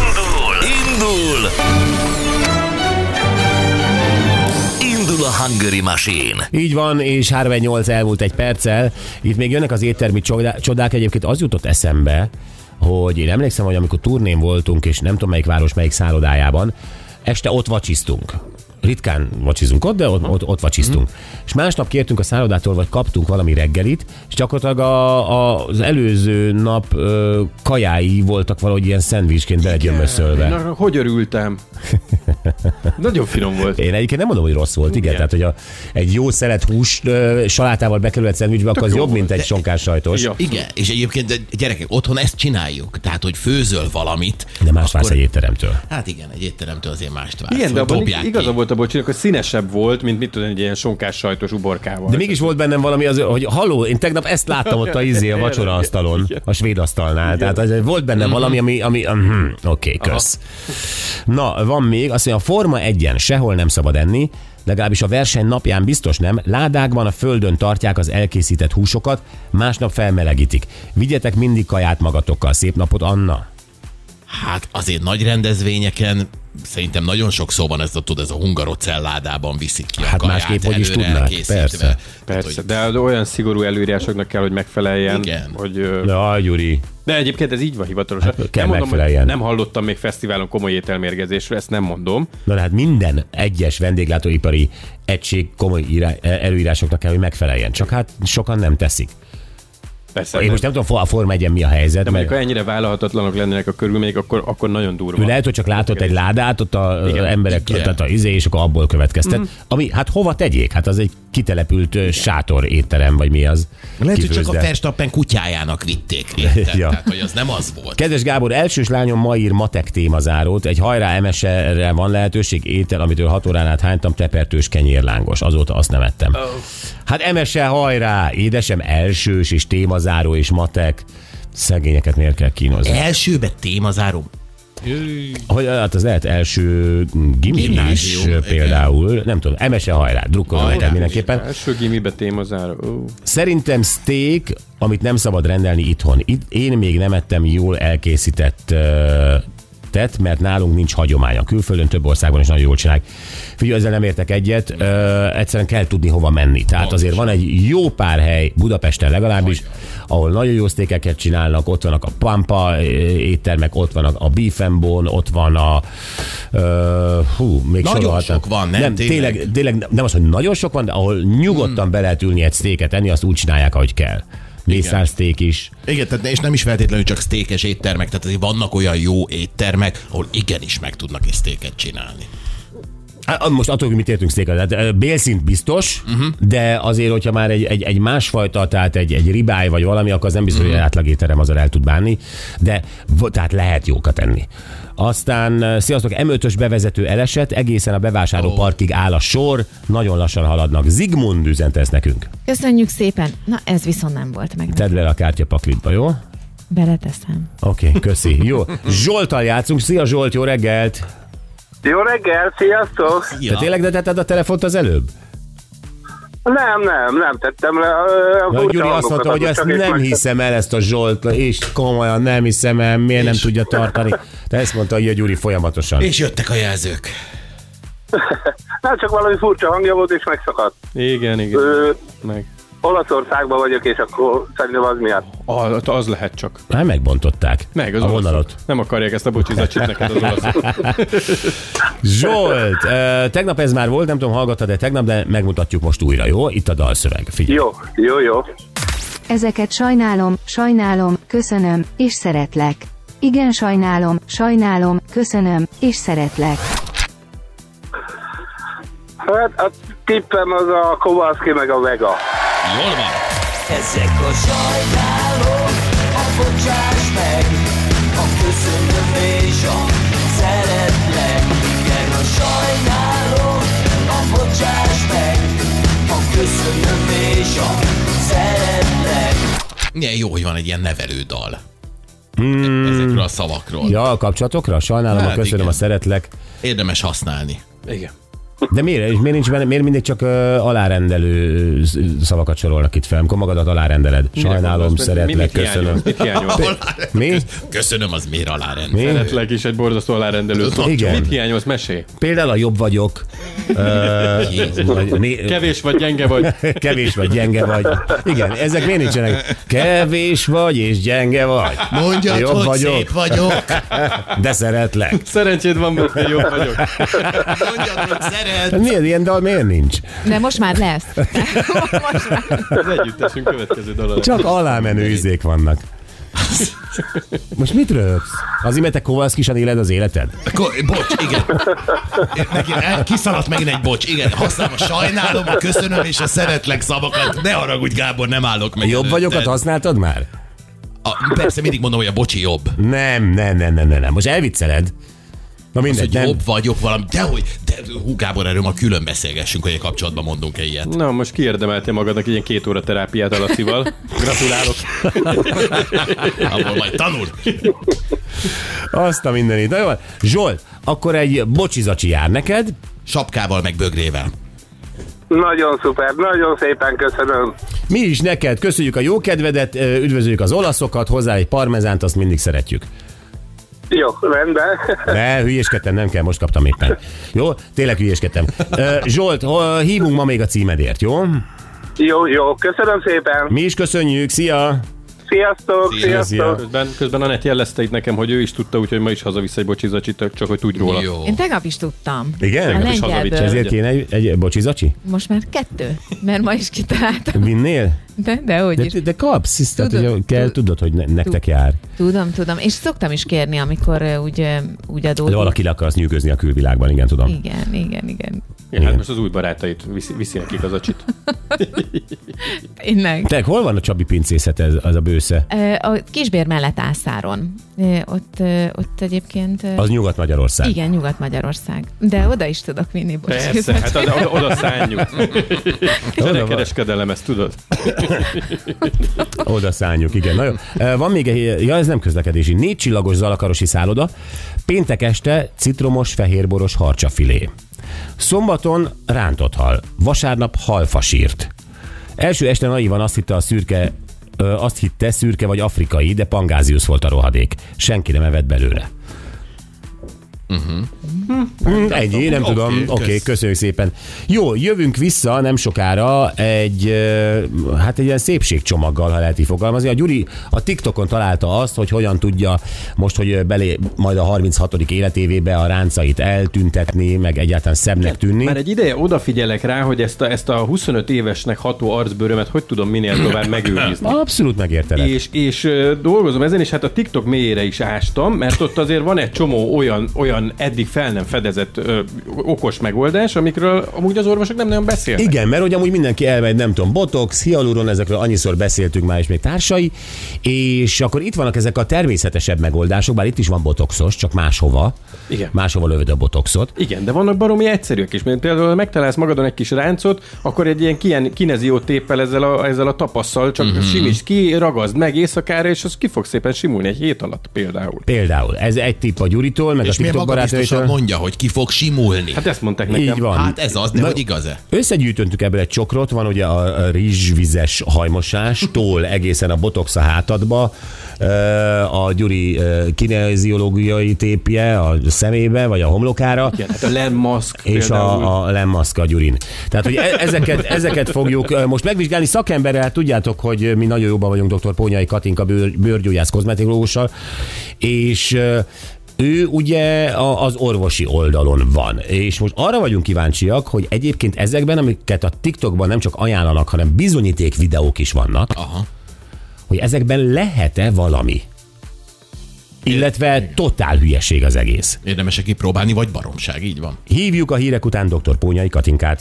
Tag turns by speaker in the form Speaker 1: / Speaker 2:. Speaker 1: Indul! Indul! Indul a Hungary Machine!
Speaker 2: Így van, és 38 elmúlt egy perccel. Itt még jönnek az éttermi csodá- csodák. Egyébként az jutott eszembe, hogy én emlékszem, hogy amikor turnén voltunk, és nem tudom melyik város, melyik szállodájában, este ott vacsiztunk. Ritkán vacsizunk ott, de ott, ott, ott vacsiztunk. És másnap kértünk a szállodától, vagy kaptunk valami reggelit, és gyakorlatilag a, a, az előző nap ö, kajái voltak valahogy ilyen szendvicsként belegyömöszölve.
Speaker 3: Na, hogy örültem? Nagyon finom volt.
Speaker 2: Én egyébként nem mondom, hogy rossz volt, igen. igen. Tehát, hogy a, egy jó szeret hús ö, salátával bekerült szendvicsbe, akkor az
Speaker 3: jó
Speaker 2: jobb, mint
Speaker 3: volt.
Speaker 2: egy sonkás sajtos.
Speaker 3: Ja.
Speaker 4: Igen, és egyébként de gyerekek, otthon ezt csináljuk. Tehát, hogy főzöl valamit.
Speaker 2: De más vársz egy étteremtől.
Speaker 4: Hát igen, egy étteremtől azért mást vársz.
Speaker 3: Igen, de
Speaker 4: hogy
Speaker 3: abban
Speaker 4: dobják
Speaker 3: ig- igaza
Speaker 4: ki.
Speaker 3: volt a bocsinak, hogy színesebb volt, mint mit tudom, egy ilyen sonkás sajtos uborkával.
Speaker 2: De mégis volt bennem valami, az, hogy haló, én tegnap ezt láttam ott a izé a vacsora asztalon, a svéd asztalnál. Tehát az, volt bennem valami, ami, ami mhm, oké, okay, kösz. Na, van még, azt mondja, a forma egyen sehol nem szabad enni, legalábbis a verseny napján biztos nem. Ládákban a földön tartják az elkészített húsokat, másnap felmelegítik. Vigyetek mindig kaját magatokkal. Szép napot, Anna!
Speaker 4: Hát azért nagy rendezvényeken szerintem nagyon sok szóban ez a, tud, ez a hungarocelládában viszik ki a
Speaker 2: Hát
Speaker 4: kaját,
Speaker 2: másképp hogy is
Speaker 4: előre
Speaker 2: tudnák,
Speaker 4: elkészítve.
Speaker 2: persze.
Speaker 4: Tehát,
Speaker 3: Persze,
Speaker 4: hogy-
Speaker 3: de az olyan szigorú előírásoknak kell, hogy megfeleljen.
Speaker 4: Igen.
Speaker 3: Hogy, ö,
Speaker 2: Jaj, Gyuri,
Speaker 3: de egyébként ez így van hivatalosan.
Speaker 2: Hát, kell
Speaker 3: nem, mondom,
Speaker 2: megfeleljen.
Speaker 3: hogy nem hallottam még fesztiválon komoly ételmérgezésről, ezt nem mondom.
Speaker 2: Na de hát minden egyes vendéglátóipari egység komoly írá- előírásoknak kell, hogy megfeleljen. Csak hát sokan nem teszik.
Speaker 3: Persze,
Speaker 2: Én most nem tudom, a Forma 1 mi a helyzet,
Speaker 3: de
Speaker 2: mert
Speaker 3: mondjuk, ha ennyire vállalhatatlanok lennének a körülmények, akkor, akkor nagyon durva.
Speaker 2: ő lehet, hogy csak látott egy ládát, ott a Igen. emberek, Igen.
Speaker 4: Igen.
Speaker 2: tehát a izé, és akkor abból következtet. Mm. Ami, hát hova tegyék? Hát az egy kitelepült Igen. sátor étterem, vagy mi az.
Speaker 4: Lehet, hogy csak
Speaker 2: Kifőzde.
Speaker 4: a Verstappen kutyájának vitték. Érted?
Speaker 2: Ja.
Speaker 4: ja. Tehát, hogy az nem az volt.
Speaker 2: Kedves Gábor, elsős lányom ma ír matek témazárót. Egy hajrá MSR-re van lehetőség, étel, amitől hat órán át hánytam, tepertős kenyérlángos. Azóta azt nem ettem. Oh. Hát MSR hajrá, édesem elsős és témazáró és matek. Szegényeket miért kell
Speaker 4: E-
Speaker 2: kínozni?
Speaker 4: Elsőbe témazáró.
Speaker 2: Hogy, hát az lehet első gimis
Speaker 4: Gimnázium,
Speaker 2: például, nem tudom, MSR hajrá, drukkolom
Speaker 4: Hajrá.
Speaker 2: neked mindenképpen.
Speaker 3: Első gimibe témazár. Ó.
Speaker 2: Szerintem steak, amit nem szabad rendelni itthon. Itt én még nem ettem jól elkészített ö, tett, mert nálunk nincs hagyománya. Külföldön több országban is nagyon jól csinálják. Figyelj, ezzel nem értek egyet, ö, egyszerűen kell tudni hova menni. Tehát azért van egy jó pár hely, Budapesten legalábbis, ahol nagyon jó sztékeket csinálnak, ott vannak a Pampa ö, éttermek, ott vannak a Beef and Bone, ott van a... Ö, hú, még
Speaker 4: Nagyon
Speaker 2: sorolhatnám.
Speaker 4: sok van, nem?
Speaker 2: nem tényleg,
Speaker 4: Tényleg.
Speaker 2: tényleg nem az, hogy nagyon sok van, de ahol nyugodtan be lehet ülni egy sztéket enni, azt úgy csinálják, ahogy kell. Mészárszték is.
Speaker 4: Igen, tehát és nem is feltétlenül csak sztékes éttermek, tehát azért vannak olyan jó éttermek, ahol igenis meg tudnak egy sztéket csinálni.
Speaker 2: Á, Most attól, hogy mit értünk székre, tehát ö, bélszint biztos, uh-huh. de azért, hogyha már egy, egy, egy másfajta, tehát egy, egy ribáj vagy valami, akkor az nem biztos, uh-huh. hogy átlag étterem azzal el tud bánni, de vo- tehát lehet jókat enni. Aztán, ö, sziasztok, M5-ös bevezető elesett, egészen a bevásárló oh. parkig áll a sor, nagyon lassan haladnak. Zigmund üzente ezt nekünk.
Speaker 5: Köszönjük szépen. Na, ez viszont nem volt meg. Te...
Speaker 2: Tedd le a kártya paklitba, jó?
Speaker 5: Beleteszem.
Speaker 2: Oké, okay, köszi. Jó. Zsoltal játszunk. Szia Zsolt, jó reggelt!
Speaker 6: Jó reggel, sziasztok!
Speaker 2: Ja. Te tényleg letetted a telefont az előbb?
Speaker 6: Nem, nem, nem tettem le. ö,
Speaker 2: Na,
Speaker 6: furcsa
Speaker 2: Gyuri azt
Speaker 6: hangokat,
Speaker 2: mondta, hogy
Speaker 6: azok
Speaker 2: ezt
Speaker 6: hát csak is
Speaker 2: nem
Speaker 6: meg-
Speaker 2: hiszem el, ezt a Zsolt, és komolyan nem hiszem el, miért nem tudja tartani. De ezt mondta hogy a Gyuri folyamatosan.
Speaker 4: És jöttek a jelzők.
Speaker 6: Nem, Hát csak valami furcsa hangja volt, és megszakadt.
Speaker 3: Igen, igen.
Speaker 6: Ö,
Speaker 3: Meg.
Speaker 6: Olaszországban vagyok, és akkor szerintem az miatt.
Speaker 3: Az, az lehet csak.
Speaker 2: Már megbontották
Speaker 3: Meg az
Speaker 2: a
Speaker 3: olaszok.
Speaker 2: vonalat.
Speaker 3: Nem akarják ezt a bocsizacsit neked az olaszok.
Speaker 2: Zsolt, ö, tegnap ez már volt, nem tudom, hallgattad de tegnap, de megmutatjuk most újra, jó? Itt a dalszöveg, figyelj.
Speaker 6: Jó, jó, jó.
Speaker 7: Ezeket sajnálom, sajnálom, köszönöm, és szeretlek. Igen sajnálom, sajnálom, köszönöm, és szeretlek.
Speaker 6: Hát a tippem az a Kowalski meg a Vega.
Speaker 4: Jól van.
Speaker 8: Ezek a sajnálom, a bocsáss meg, a köszönöm és a szeretlek. Igen, a sajnálom, a bocsáss meg, a köszönöm és a szeretlek.
Speaker 4: Milyen jó, hogy van egy ilyen nevelődal.
Speaker 2: Hmm.
Speaker 4: Mm. Ezekről a szavakról. Ja.
Speaker 2: Ja, a kapcsolatokra? Sajnálom,
Speaker 4: Hát
Speaker 2: hát, köszönöm,
Speaker 4: igen.
Speaker 2: a szeretlek.
Speaker 4: Érdemes használni.
Speaker 3: Igen.
Speaker 2: De miért? És miért, nincs benne, miért mindig csak ö, alárendelő sz- szavakat sorolnak itt fel, amikor magadat alárendeled? Sajnálom,
Speaker 3: gondolsz, mert
Speaker 2: szeretlek,
Speaker 3: mi- mit hiányol?
Speaker 2: köszönöm.
Speaker 3: Mit hiányolsz?
Speaker 2: Mi?
Speaker 4: Köszönöm, az miért alárendel.
Speaker 2: Mi?
Speaker 3: Szeretlek is egy borzasztó alárendelő szó.
Speaker 2: Igen.
Speaker 3: Mit hiányolsz? Mesé?
Speaker 2: Például a jobb vagyok. Ö, vagy né-
Speaker 3: Kevés vagy, gyenge vagy.
Speaker 2: Kevés vagy, gyenge vagy. Igen, ezek miért nincsenek? Kevés vagy és gyenge vagy.
Speaker 4: Mondjad,
Speaker 2: Jobb
Speaker 4: hogy
Speaker 2: vagyok.
Speaker 4: szép vagyok.
Speaker 2: De szeretlek.
Speaker 3: Szerencséd van, mert én jobb vagyok.
Speaker 4: Mondjad, hogy szeret.
Speaker 2: Miért ilyen dal miért nincs?
Speaker 5: De most már lesz. most már.
Speaker 3: Az együttesünk következő dala. lesz.
Speaker 2: Csak alámenő izék vannak. Most mit röhögsz? Az imete Kovalszkisan éled az életed?
Speaker 4: Ko- bocs, igen. Megint, el- kiszaladt megint egy bocs. Igen, használom a sajnálom, a köszönöm és a szeretlek szavakat. Ne haragudj, Gábor, nem állok meg.
Speaker 2: Jobb vagyokat
Speaker 4: előtted.
Speaker 2: használtad már?
Speaker 4: A, persze mindig mondom, hogy a bocsi jobb. Szóval,
Speaker 2: Nem, nem, nem, nem, nem. nem. Most elvicceled. Na
Speaker 4: Az,
Speaker 2: mindegy,
Speaker 4: hogy
Speaker 2: nem.
Speaker 4: jobb vagyok valami. Dehogy, de hú, Gábor, erről ma külön beszélgessünk, hogy a kapcsolatban mondunk-e ilyet.
Speaker 3: Na, most kiérdemeltél magadnak egy ilyen két óra terápiát Alacival. Gratulálok.
Speaker 4: Abból majd tanul.
Speaker 2: Azt a mindenit. Na jó, van. Zsolt, akkor egy bocsizacsi jár neked.
Speaker 4: Sapkával meg bögrével.
Speaker 2: Hát
Speaker 6: Nagyon szuper, nagyon szépen köszönöm.
Speaker 2: Mi is neked. Köszönjük a jó kedvedet, ö, üdvözöljük az olaszokat, hozzá egy parmezánt, azt mindig szeretjük.
Speaker 6: Jó, rendben.
Speaker 2: Ne, hülyéskedtem, nem kell, most kaptam éppen. Jó? Tényleg hülyéskedtem. Ö, Zsolt, ho- hívunk ma még a címedért, jó?
Speaker 6: jó, jó, köszönöm szépen.
Speaker 2: Mi is köszönjük, szia!
Speaker 6: Sziasztok,
Speaker 4: Szia,
Speaker 6: sziasztok.
Speaker 3: Közben, közben Anett jelezte itt nekem, hogy ő is tudta, úgyhogy ma is hazavisz egy bocsizacsit, csak hogy tudj róla.
Speaker 4: Jó.
Speaker 5: Én tegnap is tudtam.
Speaker 2: Igen?
Speaker 5: A
Speaker 3: is hazavitt
Speaker 5: lengyelből.
Speaker 2: Ezért kéne egy, egy bocsizacsi?
Speaker 5: Most már kettő, mert ma is kitaláltam.
Speaker 2: Vinnél?
Speaker 5: De, de hogy is.
Speaker 2: De, de kapsz, hisz, tehát,
Speaker 5: Tudod,
Speaker 2: hogy kell,
Speaker 5: tud-
Speaker 2: tudod, hogy ne, nektek jár.
Speaker 5: Tudom, tudom. És szoktam is kérni, amikor ö, úgy, ö, úgy
Speaker 2: De
Speaker 5: adódik.
Speaker 2: valaki le akarsz nyűgözni a külvilágban, igen, tudom.
Speaker 5: Igen, igen, igen.
Speaker 3: Ja, hát most az új barátait viszi, viszi nekik az acsit.
Speaker 5: Tényleg.
Speaker 2: Te, hol van a Csabi pincészet, ez, az a bősze?
Speaker 5: Ö, A kisbér mellett Ászáron. Ö, Ott, ö, ott egyébként... ö,
Speaker 2: Az Nyugat-Magyarország.
Speaker 5: Igen, Nyugat-Magyarország. De oda is tudok vinni,
Speaker 3: Persze,
Speaker 5: bocsánat.
Speaker 3: hát oda, oda szálljuk.
Speaker 2: Oda, van,
Speaker 3: Kereskedelem, ezt tudod?
Speaker 2: oda szálljuk, igen. Na jó. Ö, Van még egy, ja ez nem közlekedési, négy csillagos zalakarosi szálloda, péntek este citromos fehérboros harcsafilé. Szombaton rántott hal, vasárnap halfasírt. Első este naivan azt hitte a szürke ö, azt hitte szürke vagy afrikai, de pangázius volt a rohadék. Senki nem evett belőle. Mm, Ennyi, nem
Speaker 4: Oké,
Speaker 2: tudom. Oké, okay,
Speaker 4: kösz.
Speaker 2: köszönjük szépen. Jó, jövünk vissza nem sokára egy, ö, hát egy ilyen szépségcsomaggal, ha lehet így fogalmazni. A Gyuri a TikTokon találta azt, hogy hogyan tudja most, hogy ö, belé majd a 36. életévébe a ráncait eltüntetni, meg egyáltalán szebbnek tűnni.
Speaker 3: Már egy ideje odafigyelek rá, hogy ezt a, ezt a 25 évesnek ható arcbőrömet hogy tudom minél tovább megőrizni.
Speaker 2: Abszolút megértelek.
Speaker 3: És, és ö, dolgozom ezen, és hát a TikTok mélyére is ástam, mert ott azért van egy csomó olyan, olyan eddig fel nem fedezett ö, okos megoldás, amikről amúgy az orvosok nem nagyon beszélnek.
Speaker 2: Igen, mert hogy amúgy mindenki elmegy, nem tudom, botox, hialuron, ezekről annyiszor beszéltünk már is még társai, és akkor itt vannak ezek a természetesebb megoldások, bár itt is van botoxos, csak máshova.
Speaker 3: Igen.
Speaker 2: Máshova lövöd a botoxot.
Speaker 3: Igen, de vannak baromi egyszerűek is, mert például ha megtalálsz magadon egy kis ráncot, akkor egy ilyen kien, kinezió téppel ezzel a, ezzel a tapasszal csak
Speaker 2: Mhm.
Speaker 3: mm-hmm. simíts ki, ragazd meg éjszakára, és az ki fog szépen simulni egy hét alatt például.
Speaker 2: Például, ez egy tipp a Gyuritól, meg
Speaker 4: És
Speaker 2: a
Speaker 4: miért
Speaker 2: TikTok
Speaker 4: magabiztosan
Speaker 2: barátaitól.
Speaker 4: mondja, hogy ki fog simulni?
Speaker 3: Hát ezt mondták nekem.
Speaker 2: Így van.
Speaker 4: Hát ez az, de
Speaker 2: Na-
Speaker 4: hogy igaz-e?
Speaker 2: Összegyűjtöttük ebből egy csokrot, van ugye a a rizsvizes hajmosástól egészen a botox a hátadba, ö, a Gyuri ö, kineziológiai tépje a szemébe, vagy a homlokára.
Speaker 3: Igen, hát a Elon Musk
Speaker 2: és a, a lemmaszka a Gyurin. Tehát, hogy e- ezeket, ezeket fogjuk ö, most megvizsgálni szakemberrel, tudjátok, hogy ö, mi nagyon jóban vagyunk dr. Pónyai Katinka bőr, bőrgyógyász kozmetikológussal, és ö, ő ugye a- az orvosi oldalon van, és most arra vagyunk kíváncsiak, hogy egyébként ezekben, amiket a TikTokban nem csak ajánlanak, hanem bizonyíték videók is vannak,
Speaker 4: Aha.
Speaker 2: hogy ezekben lehet-e valami. Illetve totál hülyeség az egész.
Speaker 4: Érdemese kipróbálni, vagy baromság, így van.
Speaker 2: Hívjuk a hírek után dr. Pónyai Katinkát.